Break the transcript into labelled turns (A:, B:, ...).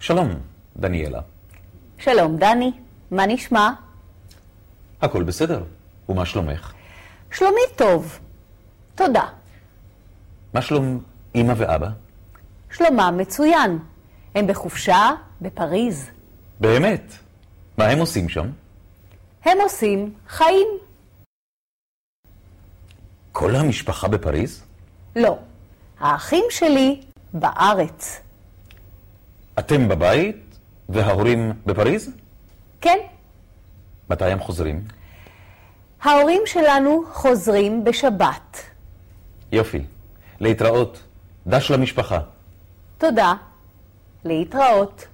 A: שלום, דניאלה.
B: שלום, דני. מה נשמע?
A: הכל בסדר. ומה שלומך?
B: שלומי טוב. תודה.
A: מה שלום אמא ואבא?
B: שלומם מצוין. הם בחופשה בפריז.
A: באמת? מה הם עושים שם?
B: הם עושים חיים.
A: כל המשפחה בפריז?
B: לא. האחים שלי בארץ.
A: אתם בבית וההורים בפריז?
B: כן,
A: מתי הם חוזרים?
B: ההורים שלנו חוזרים בשבת.
A: יופי. להתראות. דש למשפחה.
B: תודה. להתראות.